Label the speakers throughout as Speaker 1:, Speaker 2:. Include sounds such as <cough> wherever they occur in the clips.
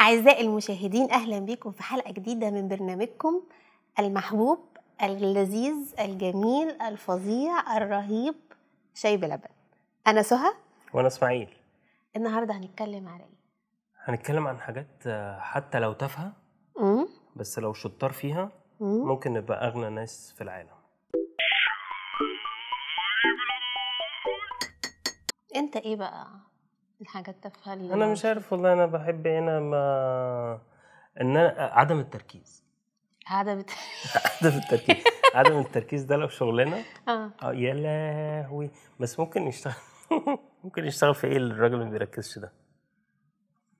Speaker 1: أعزائي المشاهدين أهلا بكم في حلقة جديدة من برنامجكم المحبوب اللذيذ الجميل الفظيع الرهيب شاي بلبن أنا سهى
Speaker 2: وانا اسماعيل
Speaker 1: النهاردة هنتكلم على إيه؟
Speaker 2: هنتكلم عن حاجات آه، حتى لو تافهه
Speaker 1: مم؟
Speaker 2: بس لو شطار فيها
Speaker 1: مم؟
Speaker 2: ممكن نبقى اغنى ناس في العالم
Speaker 1: أنت إيه بقى الحاجات التافهة اللي
Speaker 2: انا مش عارف والله انا بحب هنا ما ان انا آه، عدم التركيز
Speaker 1: قاعدة بت...
Speaker 2: <laughs>
Speaker 1: <laughs>
Speaker 2: عدم التركيز <laughs> عدم التركيز ده لو شغلنا
Speaker 1: آه.
Speaker 2: اه يا لهوي بس ممكن يشتغل <laughs> ممكن يشتغل في ايه الراجل اللي ما بيركزش ده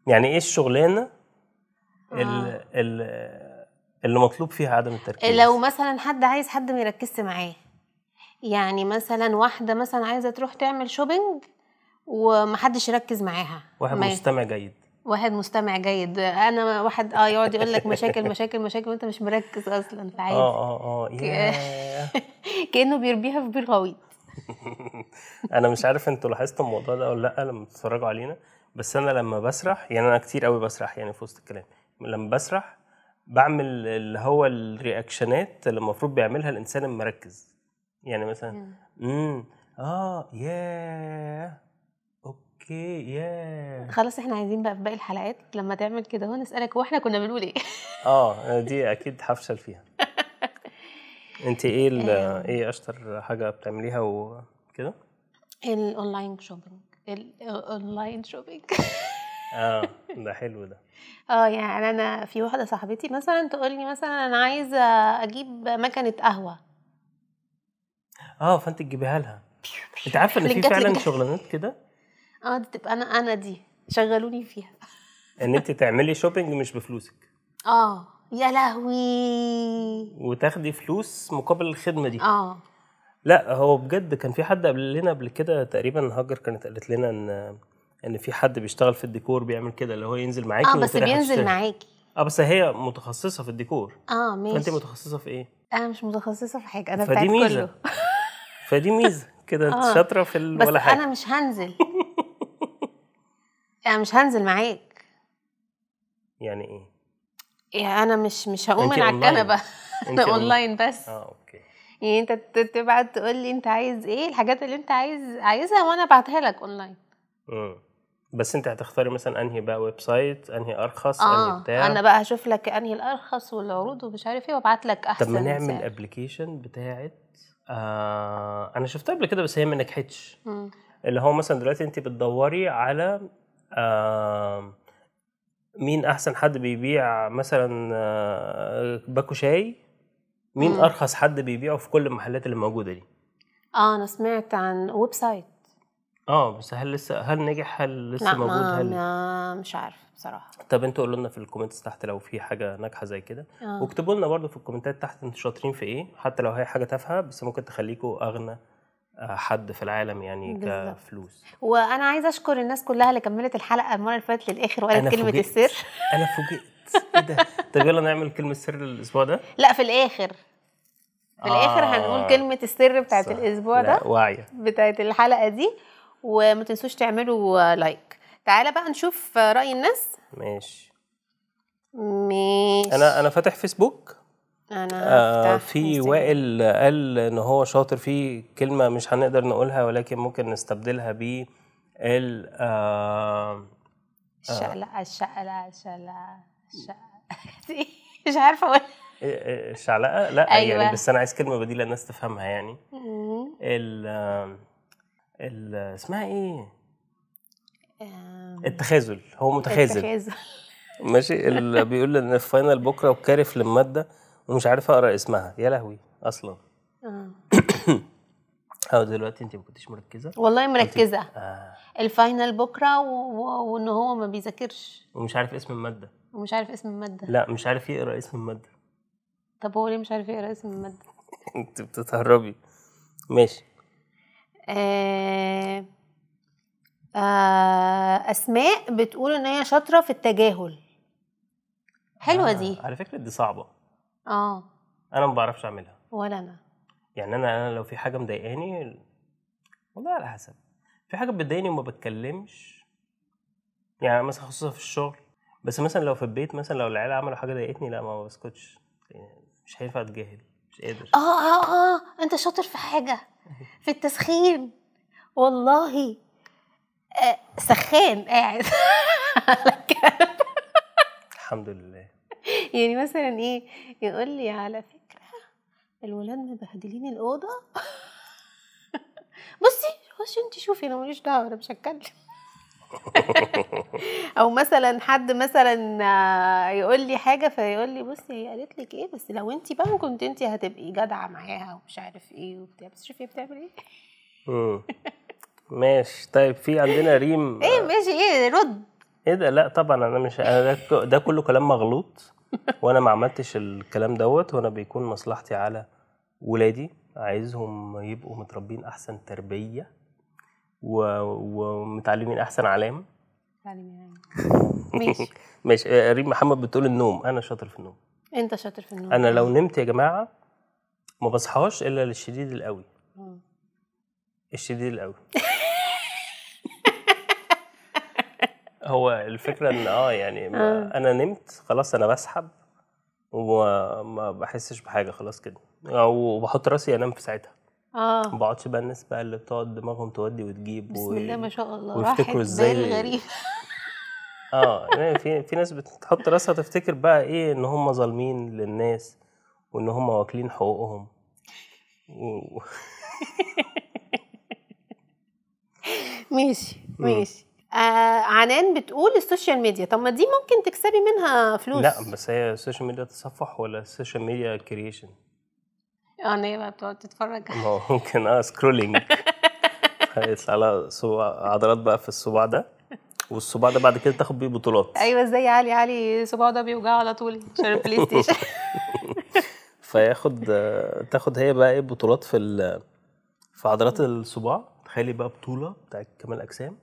Speaker 2: يعني ايه الشغلانه ال-
Speaker 1: آه.
Speaker 2: ال- اللي مطلوب فيها عدم التركيز
Speaker 1: لو مثلا حد عايز حد ما يركزش معاه يعني مثلا واحدة مثلا عايزة تروح تعمل شوبينج ومحدش يركز معاها
Speaker 2: واحد
Speaker 1: ما-
Speaker 2: مستمع جيد
Speaker 1: واحد مستمع جيد انا واحد اه يقعد يقول لك مشاكل مشاكل مشاكل وانت مش مركز اصلا في <laughs>
Speaker 2: اه
Speaker 1: عادي
Speaker 2: اه
Speaker 1: <laughs>
Speaker 2: اه ياه.
Speaker 1: كانه بيربيها في بير غويط
Speaker 2: انا مش عارف انتوا لاحظتوا الموضوع ده ولا لا لما بتتفرجوا علينا بس انا لما بسرح يعني انا كتير قوي بسرح يعني في وسط الكلام لما بسرح بعمل اللي هو الرياكشنات اللي المفروض بيعملها الانسان المركز يعني مثلا امم اه ياه اوكي ياه
Speaker 1: خلاص احنا عايزين بقى في باقي الحلقات لما تعمل كده هو نسالك واحنا كنا بنقول ايه
Speaker 2: اه دي اكيد هفشل
Speaker 1: <laughs>
Speaker 2: فيها انت ايه ال-
Speaker 1: آه.
Speaker 2: ايه اشطر حاجه بتعمليها وكده
Speaker 1: الاونلاين شوبينج الاونلاين شوبينج <laughs>
Speaker 2: اه ده حلو ده
Speaker 1: اه يعني انا في واحده صاحبتي مثلا تقول لي مثلا انا عايزه اجيب مكنه قهوه
Speaker 2: اه فانت
Speaker 1: <laughs>
Speaker 2: تجيبيها لها انت عارفه ان في
Speaker 1: للجات
Speaker 2: فعلا
Speaker 1: للجات.
Speaker 2: شغلانات كده
Speaker 1: اه دي تبقى انا انا دي شغلوني فيها
Speaker 2: ان انت تعملي شوبينج مش بفلوسك
Speaker 1: اه يا لهوي
Speaker 2: وتاخدي فلوس مقابل الخدمه دي
Speaker 1: اه
Speaker 2: لا هو بجد كان في حد قبل لنا قبل كده تقريبا هاجر كانت قالت لنا ان ان في حد بيشتغل في الديكور بيعمل كده اللي هو ينزل معاكي
Speaker 1: اه
Speaker 2: وانت
Speaker 1: بس
Speaker 2: رايحة
Speaker 1: بينزل
Speaker 2: تشتري.
Speaker 1: معاكي
Speaker 2: اه بس هي متخصصه في الديكور
Speaker 1: اه
Speaker 2: فانت
Speaker 1: ماشي
Speaker 2: متخصصه في ايه
Speaker 1: انا مش متخصصه في حاجه انا
Speaker 2: فدي
Speaker 1: بتاعت
Speaker 2: ميزة.
Speaker 1: كله
Speaker 2: فدي ميزه
Speaker 1: <laughs>
Speaker 2: كده انت
Speaker 1: آه.
Speaker 2: شاطره في ال-
Speaker 1: بس
Speaker 2: ولا حاجه
Speaker 1: انا مش
Speaker 2: <laughs>
Speaker 1: هنزل انا مش هنزل معاك
Speaker 2: يعني ايه
Speaker 1: يعني انا مش مش هقوم
Speaker 2: أنتي
Speaker 1: من على
Speaker 2: أونلاين.
Speaker 1: الكنبه <laughs>
Speaker 2: أنت
Speaker 1: انا اونلاين بس
Speaker 2: اه اوكي
Speaker 1: يعني انت ت- تبعت تقول لي انت عايز ايه الحاجات اللي انت عايز عايزها وانا ابعتها لك اونلاين
Speaker 2: امم بس انت هتختاري مثلا انهي بقى ويب سايت انهي ارخص انهي
Speaker 1: اه
Speaker 2: بتاع
Speaker 1: انا بقى هشوف لك انهي الارخص والعروض ومش عارف ايه وابعت لك احسن
Speaker 2: طب ما نعمل
Speaker 1: سعر.
Speaker 2: ابلكيشن بتاعت آه انا شفتها قبل كده بس هي ما نجحتش
Speaker 1: مم.
Speaker 2: اللي هو مثلا دلوقتي انت بتدوري على آه مين احسن حد بيبيع مثلا آه باكو شاي مين
Speaker 1: مم.
Speaker 2: ارخص حد بيبيعه في كل المحلات اللي موجوده دي
Speaker 1: اه انا سمعت عن ويب سايت
Speaker 2: اه بس هل لسه هل نجح هل لسه
Speaker 1: لا
Speaker 2: موجود
Speaker 1: ما,
Speaker 2: هل
Speaker 1: ما مش عارفه بصراحه
Speaker 2: طب انتوا قولوا لنا في الكومنتس تحت لو في حاجه ناجحه زي كده
Speaker 1: آه.
Speaker 2: واكتبوا لنا برضو في الكومنتات تحت انتوا شاطرين في ايه حتى لو هي حاجه تافهه بس ممكن تخليكوا اغنى آه، حد في العالم يعني
Speaker 1: بالظبط.
Speaker 2: كفلوس
Speaker 1: وانا عايزه اشكر الناس كلها اللي كملت الحلقه المره اللي فاتت للاخر وقالت
Speaker 2: أنا
Speaker 1: كلمه
Speaker 2: فوجئت.
Speaker 1: السر
Speaker 2: انا فوجئت ايه ده طب يلا نعمل كلمه سر للاسبوع ده
Speaker 1: لا في الاخر في الاخر
Speaker 2: آه.
Speaker 1: هنقول كلمه السر بتاعت
Speaker 2: صح.
Speaker 1: الاسبوع
Speaker 2: لا،
Speaker 1: ده
Speaker 2: واعيه
Speaker 1: بتاعت الحلقه دي وما تنسوش تعملوا لايك تعالى بقى نشوف راي الناس
Speaker 2: ماشي
Speaker 1: ماشي
Speaker 2: انا انا فاتح فيسبوك
Speaker 1: انا
Speaker 2: آه
Speaker 1: هفتح
Speaker 2: في
Speaker 1: Instagram.
Speaker 2: وائل قال ان هو شاطر في كلمه مش هنقدر نقولها ولكن ممكن نستبدلها ب ال آه
Speaker 1: الشقلقه الشقلقه الشقلقه الشقلقه <laughs> مش عارفه اقول
Speaker 2: إيه- إيه، الشعلقه لا
Speaker 1: أيوة.
Speaker 2: أيوة. يعني بس انا عايز كلمه بديله الناس تفهمها يعني ال ال اسمها ايه؟
Speaker 1: آم،
Speaker 2: التخاذل هو متخاذل
Speaker 1: التخاذل.
Speaker 2: ماشي
Speaker 1: <laughs>
Speaker 2: اللي بيقول ان الفاينل بكره وكارف للماده ومش عارف اقرا اسمها يا لهوي اصلا
Speaker 1: آه.
Speaker 2: اه دلوقتي انت ما كنتيش مركزه
Speaker 1: والله مركزه
Speaker 2: آه.
Speaker 1: الفاينل بكره و... و... وان هو ما بيذاكرش
Speaker 2: ومش عارف اسم الماده
Speaker 1: ومش عارف اسم الماده
Speaker 2: لا مش عارف يقرا اسم <laughs> الماده
Speaker 1: طب هو ليه مش عارف يقرا اسم الماده
Speaker 2: انت بتتهربي ماشي
Speaker 1: آه... آه... اسماء بتقول ان هي شاطره في التجاهل حلوه
Speaker 2: آه،
Speaker 1: دي
Speaker 2: على فكره دي صعبه
Speaker 1: اه
Speaker 2: انا ما بعرفش اعملها
Speaker 1: ولا انا
Speaker 2: يعني انا انا لو في حاجه مضايقاني والله على حسب في حاجه بتضايقني وما بتكلمش يعني مثلا خصوصا في الشغل بس مثلا لو في البيت مثلا لو العيله عملوا حاجه ضايقتني لا ما بسكتش يعني مش هينفع اتجاهل مش قادر
Speaker 1: اه اه اه انت شاطر في حاجه في التسخين والله آه سخان قاعد <laughs> على الكنبة.
Speaker 2: الحمد لله
Speaker 1: يعني مثلا ايه يقول لي على فكره الولاد مبهدلين الاوضه <laughs> بصي خشي انت شوفي انا ماليش دعوه انا مش هتكلم <laughs> او مثلا حد مثلا آه، يقول لي حاجه فيقول لي بصي هي قالت لك ايه بس لو انت بقى كنت انت هتبقي جدعه معاها ومش عارف ايه وبتاع بس شوفي هي بتعمل ايه
Speaker 2: مم. <laughs> ماشي طيب في عندنا ريم
Speaker 1: ايه ماشي ايه رد
Speaker 2: ايه ده لا طبعا انا مش أنا ده ك- ده كله كلام مغلوط وانا ما عملتش الكلام دوت وانا بيكون مصلحتي على ولادي عايزهم يبقوا متربين احسن تربيه و... ومتعلمين احسن علام
Speaker 1: يعني
Speaker 2: <laughs>
Speaker 1: ماشي
Speaker 2: ماشي آه، ريم محمد بتقول النوم انا شاطر في النوم
Speaker 1: انت شاطر في النوم
Speaker 2: انا لو نمت يا جماعه ما بصحاش الا للشديد القوي
Speaker 1: مم.
Speaker 2: الشديد القوي <laughs> هو الفكره ان اه يعني
Speaker 1: آه.
Speaker 2: ما انا نمت خلاص انا بسحب وما بحسش بحاجه خلاص كده او بحط راسي انام في ساعتها
Speaker 1: اه
Speaker 2: ما بقعدش بقى الناس بقى اللي بتقعد دماغهم تودي وتجيب
Speaker 1: بسم الله ما شاء الله
Speaker 2: ويفتكروا
Speaker 1: راحت
Speaker 2: إزاي-
Speaker 1: بال غريبه
Speaker 2: اه يعني في في ناس بتحط راسها تفتكر بقى ايه ان هم ظالمين للناس وان هم واكلين حقوقهم و...
Speaker 1: ماشي ماشي آه عنان بتقول السوشيال ميديا طب ما دي ممكن تكسبي منها فلوس
Speaker 2: لا بس هي السوشيال ميديا تصفح ولا السوشيال ميديا كرييشن
Speaker 1: اه ان هي بقى بتقعد <laughs> تتفرج
Speaker 2: ما هو ممكن اه سكرولينج هيطلع لها صباع عضلات بقى في الصباع ده والصباع ده بعد كده تاخد بيه بطولات
Speaker 1: ايوه ازاي علي علي صباعه ده بيوجعه على طول عشان
Speaker 2: <laughs>
Speaker 1: البلاي ستيشن <laughs>
Speaker 2: فياخد آه، تاخد هي بقى ايه بطولات في ال- في عضلات الصباع تخيلي بقى بطوله بتاع كمال اجسام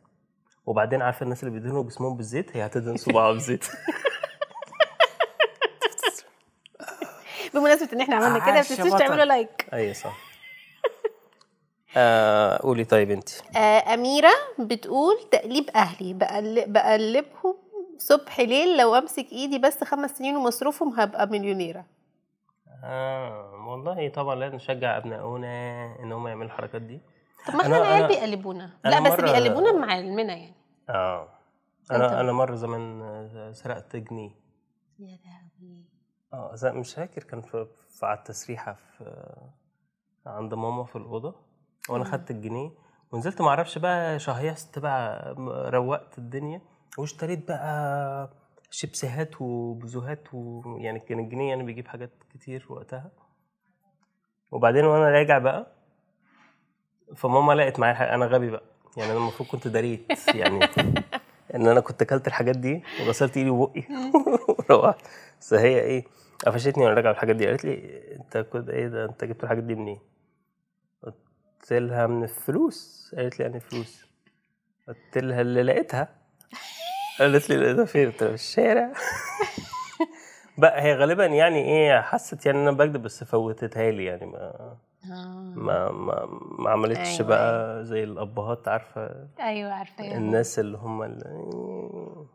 Speaker 2: وبعدين عارفه الناس اللي بيدهنوا جسمهم بالزيت هي هتدهن صباعها بالزيت
Speaker 1: بمناسبه ان احنا عملنا كده ما
Speaker 2: عاش يا
Speaker 1: تنسوش
Speaker 2: بطل.
Speaker 1: تعملوا لايك
Speaker 2: ايوه صح آه قولي طيب انت
Speaker 1: آه اميره بتقول تقليب اهلي بقل... بقلبهم صبح ليل لو امسك ايدي بس خمس سنين ومصروفهم هبقى مليونيره
Speaker 2: آه والله طبعا لازم نشجع ابنائنا ان هم يعملوا الحركات دي
Speaker 1: طب ما
Speaker 2: أنا-
Speaker 1: احنا العيال
Speaker 2: أنا-
Speaker 1: بيقلبونا
Speaker 2: أنا
Speaker 1: لا بس
Speaker 2: مرة-
Speaker 1: بيقلبونا مع علمنا يعني
Speaker 2: اه
Speaker 1: أنت-
Speaker 2: انا انا مره زمان آه، سرقت جنيه
Speaker 1: يا لهوي
Speaker 2: اه ز- مش فاكر كان في في- على التسريحه في آه، عند ماما في الاوضه وانا
Speaker 1: مم.
Speaker 2: خدت الجنيه ونزلت ما اعرفش بقى شهيصت بقى م- روقت الدنيا واشتريت بقى شيبسيهات وبزوهات ويعني كان الجنيه يعني بيجيب حاجات كتير وقتها وبعدين وانا راجع بقى فماما لقت معايا الحاجة. انا غبي بقى يعني انا المفروض كنت دريت يعني
Speaker 1: <laughs>
Speaker 2: ان انا كنت اكلت الحاجات دي وغسلت ايدي وبقي <laughs> وروحت بس هي ايه قفشتني وانا راجع الحاجات دي قالت لي انت كنت ايه ده انت جبت الحاجات دي منين؟ قلت لها من الفلوس قالت لي يعني فلوس قلت لها اللي لقيتها قالت لي لقيتها فين؟ قلت لها في الشارع <laughs> بقى هي غالبا يعني ايه حست يعني ان انا بكذب بس فوتتها لي يعني ما
Speaker 1: آه.
Speaker 2: ما ما, ما عملتش
Speaker 1: أيوة،
Speaker 2: بقى زي الابهات عارفه
Speaker 1: ايوه عارفه
Speaker 2: الناس اللي هم اللي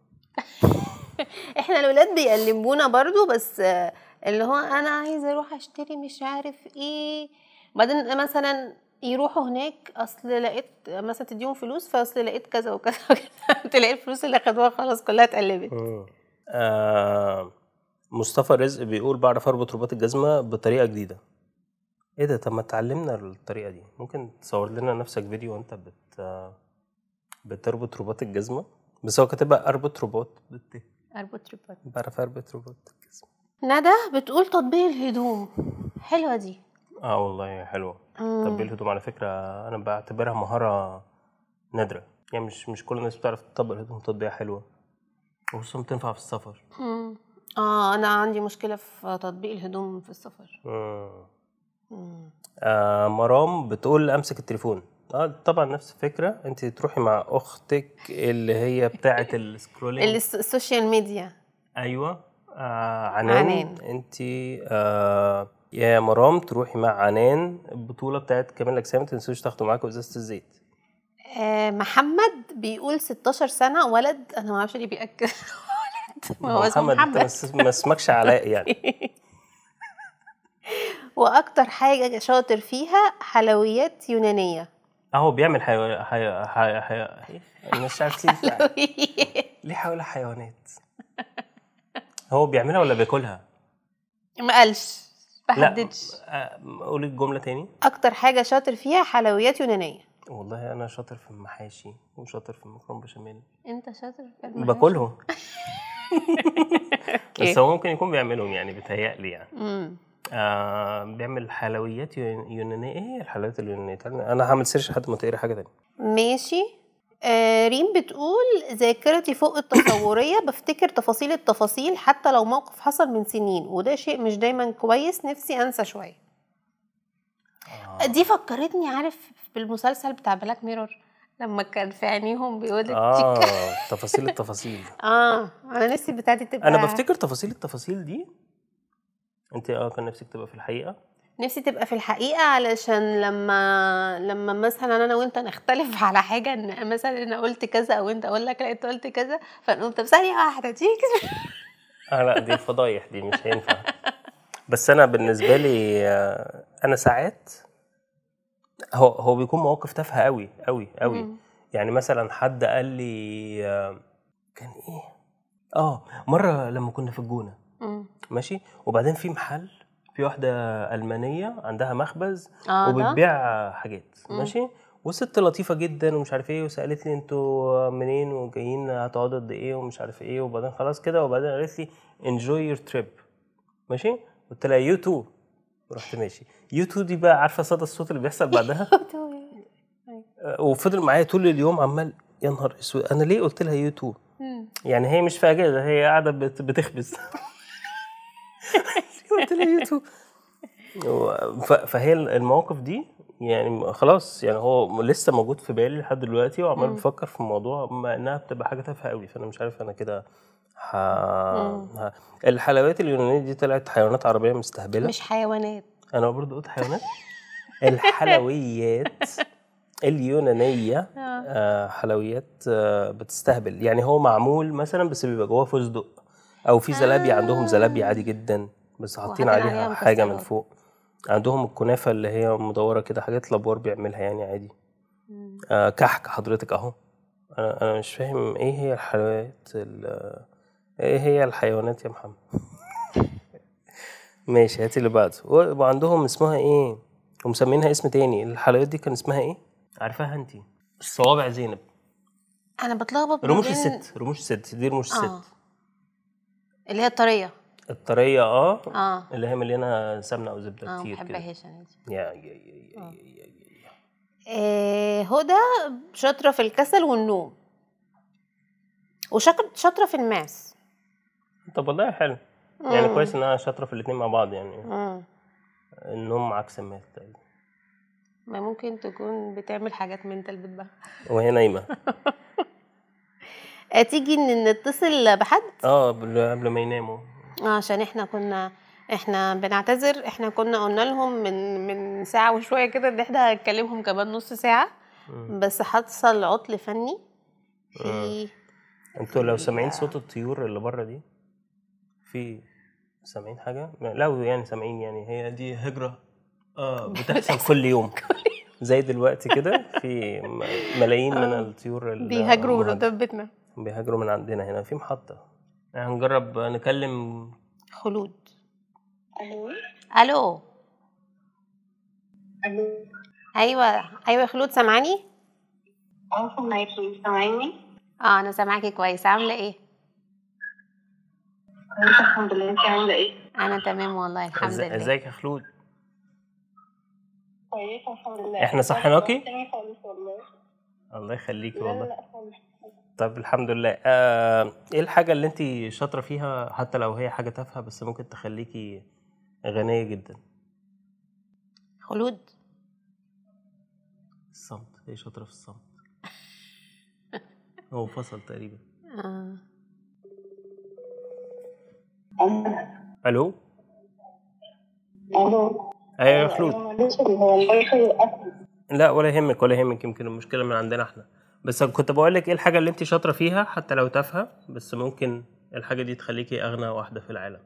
Speaker 1: احنا الولاد بيقلبونا برضو بس آه، اللي هو انا عايزه اروح اشتري مش عارف ايه بعدين مثلا يروحوا هناك اصل لقيت مثلا تديهم فلوس فاصل لقيت كذا وكذا <laughs> وكذا تلاقي الفلوس اللي خدوها خلاص كلها اتقلبت
Speaker 2: آه مصطفى رزق بيقول بعرف اربط رباط الجزمه بطريقه جديده ايه ده طب ما اتعلمنا الطريقه دي ممكن تصور لنا نفسك فيديو وانت بت آه، بتربط رباط الجزمه بس هو كاتبها اربط رباط بالت
Speaker 1: اربط رباط
Speaker 2: بعرف اربط رباط الجزمه
Speaker 1: ندى بتقول تطبيق الهدوم حلوه دي
Speaker 2: اه والله حلوه
Speaker 1: مم.
Speaker 2: تطبيق الهدوم على فكره انا بعتبرها مهاره نادره يعني مش مش كل الناس بتعرف تطبق الهدوم تطبيقها حلوه وخصوصا بتنفع في السفر
Speaker 1: مم. اه انا عندي مشكله في تطبيق الهدوم في السفر
Speaker 2: مم.
Speaker 1: مم.
Speaker 2: آه مرام بتقول امسك التليفون اه طبعا نفس الفكره انت تروحي مع اختك اللي
Speaker 1: <laughs>
Speaker 2: هي بتاعه السكرولينج
Speaker 1: الس- السوشيال ميديا
Speaker 2: ايوه آه عنان,
Speaker 1: عنان.
Speaker 2: انت آه يا مرام تروحي مع عنان البطوله بتاعه كمال الاجسام ما تنسوش تاخدوا معاكم ازازه الزيت
Speaker 1: آه، محمد بيقول 16 سنه <laughs> ولد انا ما اعرفش ليه بياكد ما هو اسمه
Speaker 2: أنت ما
Speaker 1: محمد
Speaker 2: اس- ما اسمكش
Speaker 1: <laughs>
Speaker 2: علاء يعني
Speaker 1: واكتر حاجه شاطر فيها حلويات يونانيه
Speaker 2: اهو بيعمل حيو... حيو... حيو... حيو... أنا مش عارف
Speaker 1: <laughs>
Speaker 2: ليه ليه حيوانات حيوانات هو بيعملها ولا بياكلها؟
Speaker 1: ما قالش ما
Speaker 2: لا.
Speaker 1: حددش
Speaker 2: أم- قولي الجمله تاني
Speaker 1: اكتر حاجه شاطر فيها حلويات يونانيه
Speaker 2: والله انا شاطر في المحاشي وشاطر في المكرونه بشاميل
Speaker 1: انت شاطر في المحاشي؟
Speaker 2: باكلهم
Speaker 1: أوكي.
Speaker 2: بس هو ممكن يكون بيعملهم يعني بيتهيألي يعني
Speaker 1: مم.
Speaker 2: آه بيعمل حلويات يون- يونانيه ايه هي الحلويات اليونانيه تعالى- انا هعمل سيرش لحد ما تقري حاجه تانية
Speaker 1: ماشي آه ريم بتقول ذاكرتي فوق التصورية <clears throat> بفتكر تفاصيل التفاصيل حتى لو موقف حصل من سنين وده شيء مش دايما كويس نفسي انسى شوية
Speaker 2: آه.
Speaker 1: دي فكرتني عارف بالمسلسل بتاع بلاك ميرور لما كان في عينيهم بيقول
Speaker 2: اه
Speaker 1: آه.
Speaker 2: تفاصيل التفاصيل
Speaker 1: اه انا نفسي بتاعتي تبقى
Speaker 2: انا بفتكر تفاصيل التفاصيل دي انت اه كان نفسك تبقى في الحقيقه
Speaker 1: نفسي تبقى في الحقيقة علشان لما لما مثلا أنا وأنت نختلف <laughs> على حاجة إن مثلا أنا قلت كذا أو أنت أقول لك لا أنت قلت كذا فنقوم طب ثانية واحدة تيجي
Speaker 2: آه لا دي فضايح دي مش هينفع بس انا بالنسبه لي آه، انا ساعات هو هو بيكون مواقف تافهه قوي قوي قوي
Speaker 1: مم.
Speaker 2: يعني مثلا حد قال لي آه، كان ايه اه مره لما كنا في الجونه
Speaker 1: مم.
Speaker 2: ماشي وبعدين في محل في واحده المانيه عندها مخبز
Speaker 1: اه ده
Speaker 2: وبتبيع حاجات
Speaker 1: مم.
Speaker 2: ماشي وست لطيفه جدا ومش عارف ايه وسالت لي انتوا منين وجايين هتقعدوا قد ايه ومش عارف ايه وبعدين خلاص كده وبعدين قالت لي انجوي يور تريب ماشي قلت لها يو تو رحت ماشي يو تو دي بقى عارفه صدى الصوت اللي بيحصل بعدها <laughs> آه، وفضل معايا طول اليوم عمال يا نهار اسود انا ليه قلت لها يو تو
Speaker 1: مم.
Speaker 2: يعني هي مش في اجازه هي قاعده بت-
Speaker 1: <laughs>
Speaker 2: بتخبز قلت لها يوتيوب و- ف- فهي المواقف دي يعني خلاص يعني هو لسه موجود في بالي لحد دلوقتي وعمال
Speaker 1: مم.
Speaker 2: بفكر في الموضوع مع انها بتبقى حاجه تافهه قوي فانا مش عارف انا كده ه...
Speaker 1: مم.
Speaker 2: ه... الحلويات اليونانيه دي طلعت حيوانات عربيه مستهبله
Speaker 1: مش حيوانات
Speaker 2: انا برضه قلت
Speaker 1: <laughs>
Speaker 2: حيوانات الحلويات اليونانيه
Speaker 1: آه.
Speaker 2: آه، حلويات آه، بتستهبل يعني هو معمول مثلا بس بيبقى جواه فستق او في زلابيا
Speaker 1: آه.
Speaker 2: عندهم زلابيا عادي جدا بس حاطين
Speaker 1: وحاطين
Speaker 2: عليها
Speaker 1: عليها
Speaker 2: حاجه من
Speaker 1: مكسرات.
Speaker 2: فوق عندهم الكنافه اللي هي مدوره كده حاجات لابوار بيعملها يعني عادي
Speaker 1: مم.
Speaker 2: آه، كحك حضرتك اهو انا انا مش فاهم ايه هي الحلويات ال- ايه هي الحيوانات يا محمد <laughs> ماشي هات اللي بعده و- وعندهم اسمها ايه ومسمينها اسم تاني الحلويات دي كان اسمها ايه عارفاها انت الصوابع زينب
Speaker 1: أنا بتلخبط ما
Speaker 2: رموش
Speaker 1: بين-
Speaker 2: الست رموش الست دي رموش
Speaker 1: آه.
Speaker 2: الست
Speaker 1: اللي هي الطرية
Speaker 2: الطريه اه
Speaker 1: اه
Speaker 2: اللي هي مليانه سمنه او زبده
Speaker 1: اه ما
Speaker 2: كتير كده
Speaker 1: بحبهاش أنا دي
Speaker 2: يا يا يا- يا- يا- يا-
Speaker 1: آه، هدى شاطرة في الكسل والنوم وشاطرة شاطرة في الماس
Speaker 2: يا. طب والله حلو يعني
Speaker 1: مم.
Speaker 2: كويس ان انا شاطره في الاثنين مع بعض يعني
Speaker 1: مم.
Speaker 2: النوم عكس المال تقريبا
Speaker 1: ما ممكن تكون بتعمل حاجات منتال بتبقى <laughs>
Speaker 2: وهي نايمه
Speaker 1: آه، تيجي إن نتصل بحد
Speaker 2: اه قبل قبل ما يناموا
Speaker 1: آه، عشان احنا كنا احنا بنعتذر احنا كنا قلنا لهم من من ساعة وشوية كده ان احنا هنكلمهم كمان نص ساعة
Speaker 2: مم.
Speaker 1: بس حصل عطل فني في
Speaker 2: انتوا لو سامعين صوت الطيور اللي بره دي في سامعين حاجه ما- لو يعني سامعين يعني هي دي هجره
Speaker 1: <laughs>
Speaker 2: اه بتحصل كل يوم زي دلوقتي كده في م- ملايين من
Speaker 1: آه.
Speaker 2: الطيور ال-
Speaker 1: بيهاجروا من
Speaker 2: المهاجرة.
Speaker 1: قدام بيتنا
Speaker 2: بيهاجروا من عندنا هنا في محطة يعني هنجرب نكلم
Speaker 1: خلود
Speaker 3: الو
Speaker 1: الو
Speaker 3: الو
Speaker 1: ايوه ايوه يا خلود سامعاني
Speaker 3: اه معاكي سامعيني
Speaker 1: اه انا سامعاكي كويس عامله ايه
Speaker 3: كويسه الحمد لله انت عامله ايه؟
Speaker 1: انا تمام والله الحمد
Speaker 2: إز-
Speaker 1: لله
Speaker 2: ازيك يا خلود
Speaker 3: كويسه طيب، الحمد لله
Speaker 2: إحنا صحيناكي؟
Speaker 3: تاني خالص والله
Speaker 2: الله يخليكي
Speaker 3: لا لا
Speaker 2: والله
Speaker 3: لا خالص
Speaker 2: طب الحمد لله آه ايه الحاجة اللي انت شاطرة فيها حتى لو هي حاجة تافهة بس ممكن تخليكي غنية جدا
Speaker 1: خلود
Speaker 2: الصمت هي شاطرة في الصمت هو فصل تقريبا
Speaker 1: آه.
Speaker 2: الو
Speaker 3: الو
Speaker 2: ايوه
Speaker 1: أيوة.
Speaker 2: يا خلود
Speaker 3: معلش هو الواي فاي وقفني.
Speaker 2: لا ولا يهمك ولا يهمك يمكن المشكلة إيه من عندنا احنا بس كنت بقول لك ايه الحاجة اللي انت شاطرة فيها حتى لو تافهة بس ممكن الحاجه دي تخليكي اغنى واحده في العالم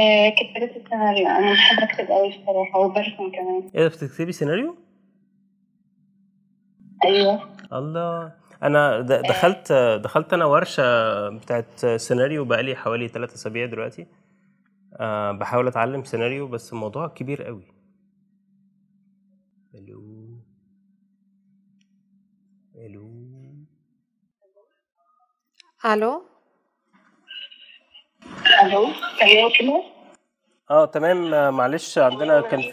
Speaker 3: آه، كتابة السيناريو أنا بحب أكتب أوي الصراحة وبرسم كمان
Speaker 2: ايه ده بتكتبي سيناريو
Speaker 3: أيوه
Speaker 2: الله انا د- دخلت دخلت انا ورشه بتاعت سيناريو بقالي حوالي 3 اسابيع دلوقتي أه بحاول اتعلم سيناريو بس الموضوع كبير قوي الو الو
Speaker 1: الو
Speaker 3: ألو تمام كده
Speaker 2: اه تمام آه، معلش عندنا كان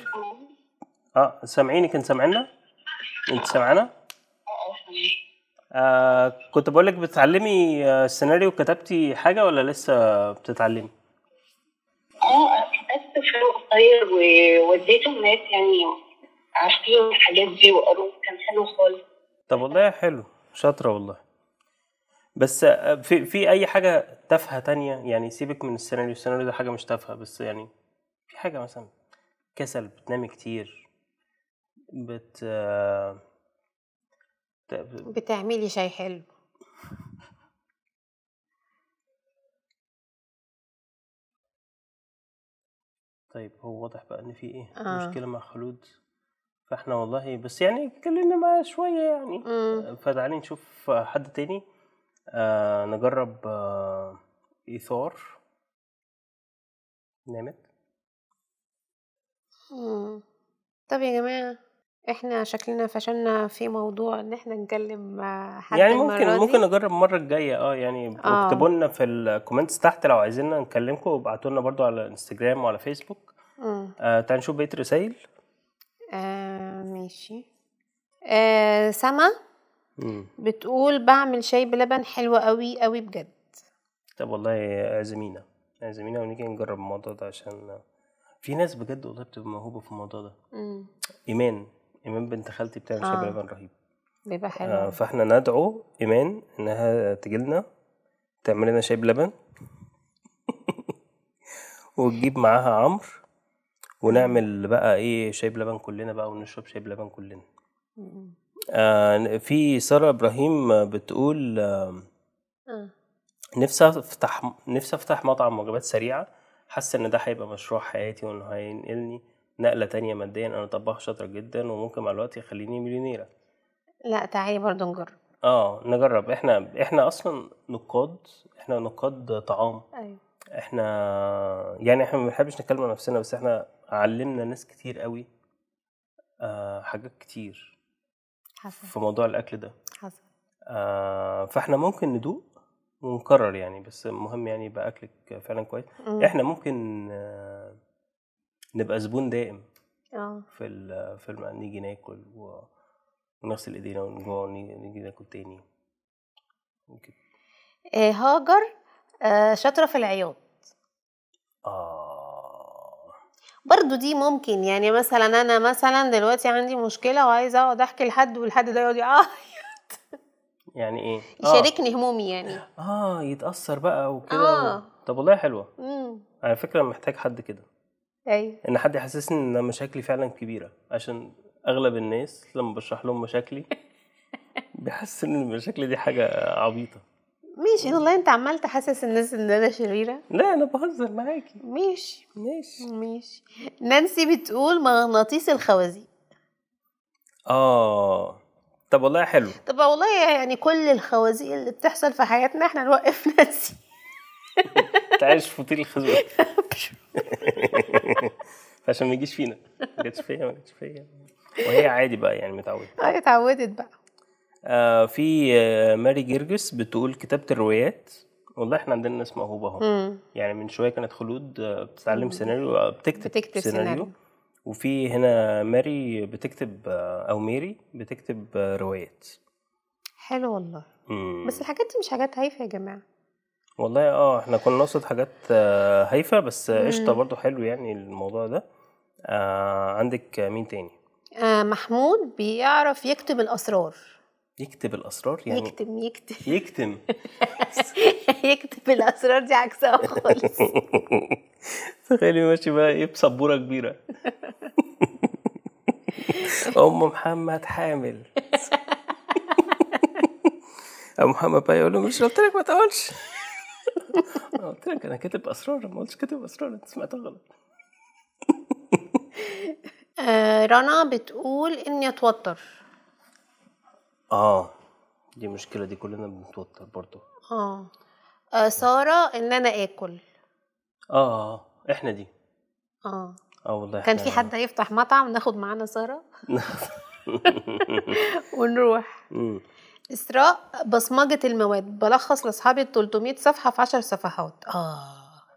Speaker 2: اه سامعيني كان سامعنا انت سامعانا آه كنت بقولك بتتعلمي آه، السيناريو كتبتي حاجه ولا لسه بتتعلمي
Speaker 3: اه كتبت فيلم قصير ووديته طيب، الناس يعني عارفين الحاجات دي وقروه كان حلو خالص
Speaker 2: طب والله حلو شاطرة والله بس آه، في في أي حاجة تافهة تانية يعني سيبك من السيناريو السيناريو ده حاجة مش تافهة بس يعني في حاجة مثلا كسل بتنامي كتير بت آه، ت-
Speaker 1: بتعملي شاي حلو
Speaker 2: طيب هو واضح بقى ان في ايه
Speaker 1: آه.
Speaker 2: مشكلة مع خلود فاحنا والله بس يعني اتكلمنا معاه شوية يعني
Speaker 1: مم.
Speaker 2: فتعالي نشوف حد تاني آه نجرب آه إيثار نامت
Speaker 1: مم. طب يا جماعه احنا شكلنا فشلنا في موضوع ان احنا نكلم آه، حد
Speaker 2: يعني ممكن
Speaker 1: المرة دي.
Speaker 2: ممكن نجرب المرة الجاية اه يعني
Speaker 1: آه.
Speaker 2: اكتبوا لنا في الكومنتس تحت لو عايزيننا نكلمكم وابعتوا لنا برضو على انستجرام وعلى فيسبوك
Speaker 1: مم.
Speaker 2: آه تعالوا نشوف بقية الرسايل
Speaker 1: آه ماشي آه سما بتقول بعمل شاي بلبن حلو قوي قوي بجد
Speaker 2: طب والله اعزمينا اعزمينا ونيجي نجرب الموضوع ده عشان في ناس بجد والله بتبقى موهوبة في الموضوع ده
Speaker 1: مم.
Speaker 2: إيمان إيمان بنت خالتي بتعمل شاي
Speaker 1: آه.
Speaker 2: بلبن رهيب
Speaker 1: بيبقى حلو
Speaker 2: آه، فاحنا ندعو ايمان انها تجيلنا تعمل لنا شاي بلبن <laughs> وتجيب معاها عمرو ونعمل بقى ايه شاي بلبن كلنا بقى ونشرب شاي بلبن كلنا
Speaker 1: مم.
Speaker 2: آه في ساره ابراهيم بتقول آه
Speaker 1: آه.
Speaker 2: نفسي افتح نفسي افتح مطعم وجبات سريعه حاسه ان ده هيبقى مشروع حياتي وانه هينقلني نقله تانية ماديا انا طباخ شاطر جدا وممكن مع الوقت يخليني مليونيره
Speaker 1: لا تعالي برضو نجرب
Speaker 2: اه نجرب احنا احنا اصلا نقاد احنا نقاد طعام
Speaker 1: ايوه
Speaker 2: احنا <laughs> يعني احنا ما بنحبش نتكلم عن نفسنا بس احنا علمنا ناس كتير قوي آه حاجات كتير في
Speaker 1: حصل
Speaker 2: موضوع الاكل ده
Speaker 1: حصل
Speaker 2: آه فاحنا ممكن ندوق ونكرر يعني بس المهم يعني يبقى اكلك فعلا كويس
Speaker 1: مم.
Speaker 2: احنا ممكن آه نبقى زبون دائم
Speaker 1: اه
Speaker 2: في ال- في الم- نيجي ناكل و- ونغسل ايدينا ونجوع ونيجي نيجي ناكل تاني ممكن
Speaker 1: آه، هاجر آه، شاطرة في العياط
Speaker 2: اه
Speaker 1: برضو دي ممكن يعني مثلا انا مثلا دلوقتي عندي مشكلة وعايزة اقعد احكي لحد والحد ده يقعد ي- آه،
Speaker 2: يعني ايه آه.
Speaker 1: يشاركني همومي يعني
Speaker 2: اه يتأثر بقى وكده
Speaker 1: آه.
Speaker 2: و... طب والله حلوة
Speaker 1: امم
Speaker 2: على فكرة أنا محتاج حد كده
Speaker 1: ايوه
Speaker 2: ان حد يحسسني ان مشاكلي فعلا كبيرة عشان اغلب الناس لما بشرح
Speaker 1: <laughs>
Speaker 2: لهم مشاكلي بيحسوا ان المشاكل دي حاجة عبيطة
Speaker 1: ماشي والله انت عمال تحسس الناس ان انا شريرة
Speaker 2: لا انا بهزر معاكي
Speaker 1: ماشي
Speaker 2: ماشي
Speaker 1: ماشي نانسي بتقول مغناطيس الخوازيق
Speaker 2: اه طب والله حلو
Speaker 1: طب والله يعني كل الخوازيق اللي بتحصل في حياتنا احنا نوقف <laughs> نانسي
Speaker 2: تعالي فطير الخزوة
Speaker 1: <laughs>
Speaker 2: عشان ما يجيش فينا ما جاتش فيا ما جاتش فيا وهي عادي بقى يعني متعودة
Speaker 1: اه اتعودت بقى
Speaker 2: آه في آه، ماري جرجس بتقول كتابة الروايات والله احنا عندنا ناس موهوبة اهو
Speaker 1: امم
Speaker 2: يعني من شوية كانت خلود آه، بتتعلم
Speaker 1: مم.
Speaker 2: سيناريو آه، بتكتب,
Speaker 1: بتكتب سيناريو
Speaker 2: وفي هنا ماري بتكتب آه، او ميري بتكتب آه، روايات
Speaker 1: حلو والله
Speaker 2: مم.
Speaker 1: بس الحاجات دي مش حاجات هايفة يا جماعة
Speaker 2: والله اه احنا كنا نقصد حاجات آه، هايفة بس آه، قشطة
Speaker 1: مم.
Speaker 2: برضو حلو يعني الموضوع ده آه عندك آه، مين تاني
Speaker 1: آه محمود بيعرف يكتب الأسرار
Speaker 2: يكتب الاسرار يعني
Speaker 1: يعني يكتم يكتم
Speaker 2: يكتم
Speaker 1: <laughs> يكتب الأسرار دي عكسها خالص
Speaker 2: تخيلي ماشي بقى ايه بسبوره كبيره ام محمد حامل <laughs> ابو محمد بقى يقول له مش قلت لك ما تقولش <laughs> أنا قلت لك انا كاتب اسرار ما قلتش كاتب اسرار انت سمعتها غلط
Speaker 1: آه رنا بتقول اني اتوتر
Speaker 2: اه دي مشكله دي كلنا بنتوتر برضو
Speaker 1: اه آه، ساره ان انا اكل
Speaker 2: اه آه، احنا دي
Speaker 1: اه
Speaker 2: اه والله
Speaker 1: كان
Speaker 2: إحنا-
Speaker 1: في حد هيفتح مطعم ناخد معانا <laughs> ساره ونروح
Speaker 2: مم.
Speaker 1: اسراء بصمجه المواد بلخص لاصحابي ال 300 صفحه في 10 صفحات اه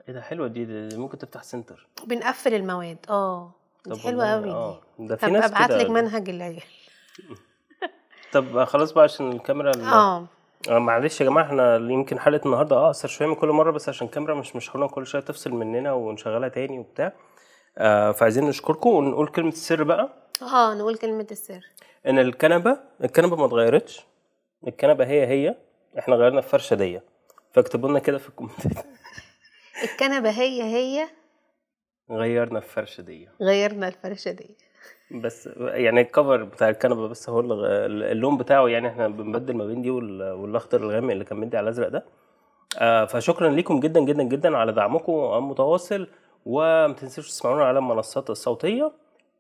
Speaker 2: ايه ده حلوه دي, دي ممكن تفتح سنتر
Speaker 1: بنقفل المواد اه
Speaker 2: طب
Speaker 1: دي حلوه
Speaker 2: والله،
Speaker 1: قوي
Speaker 2: آه.
Speaker 1: دي
Speaker 2: ده في
Speaker 1: هبقى
Speaker 2: ناس
Speaker 1: ابعت لك
Speaker 2: كده
Speaker 1: منهج العيال
Speaker 2: طب خلاص بقى عشان الكاميرا ال-
Speaker 1: اه
Speaker 2: آه، معلش يا جماعه احنا يمكن حلقه النهارده اقصر شويه من كل مره بس عشان الكاميرا مش مشحونه كل شويه تفصل مننا ونشغلها تاني وبتاع آه فعايزين نشكركم ونقول كلمه السر بقى
Speaker 1: اه نقول كلمه السر
Speaker 2: ان الكنبه الكنبه ما اتغيرتش الكنبه هي هي احنا غيرنا الفرشه دي فاكتبوا لنا كده في الكومنتات <laughs>
Speaker 1: الكنبه هي هي
Speaker 2: غيرنا الفرشه دي
Speaker 1: غيرنا الفرشه دي
Speaker 2: بس يعني الكفر بتاع الكنبه بس هو اللي غ- اللون بتاعه يعني احنا بنبدل ما بين دي وال- والاخضر الغامق اللي كان مدي على الازرق ده آه، فشكرا ليكم جدا جدا جدا على دعمكم المتواصل وما تنسوش تسمعونا على المنصات الصوتيه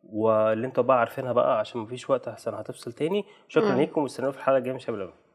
Speaker 2: واللي انتوا بقى عارفينها بقى عشان مفيش وقت احسن هتفصل تاني شكرا
Speaker 1: مم.
Speaker 2: ليكم واستنونا في الحلقه الجايه مش قبل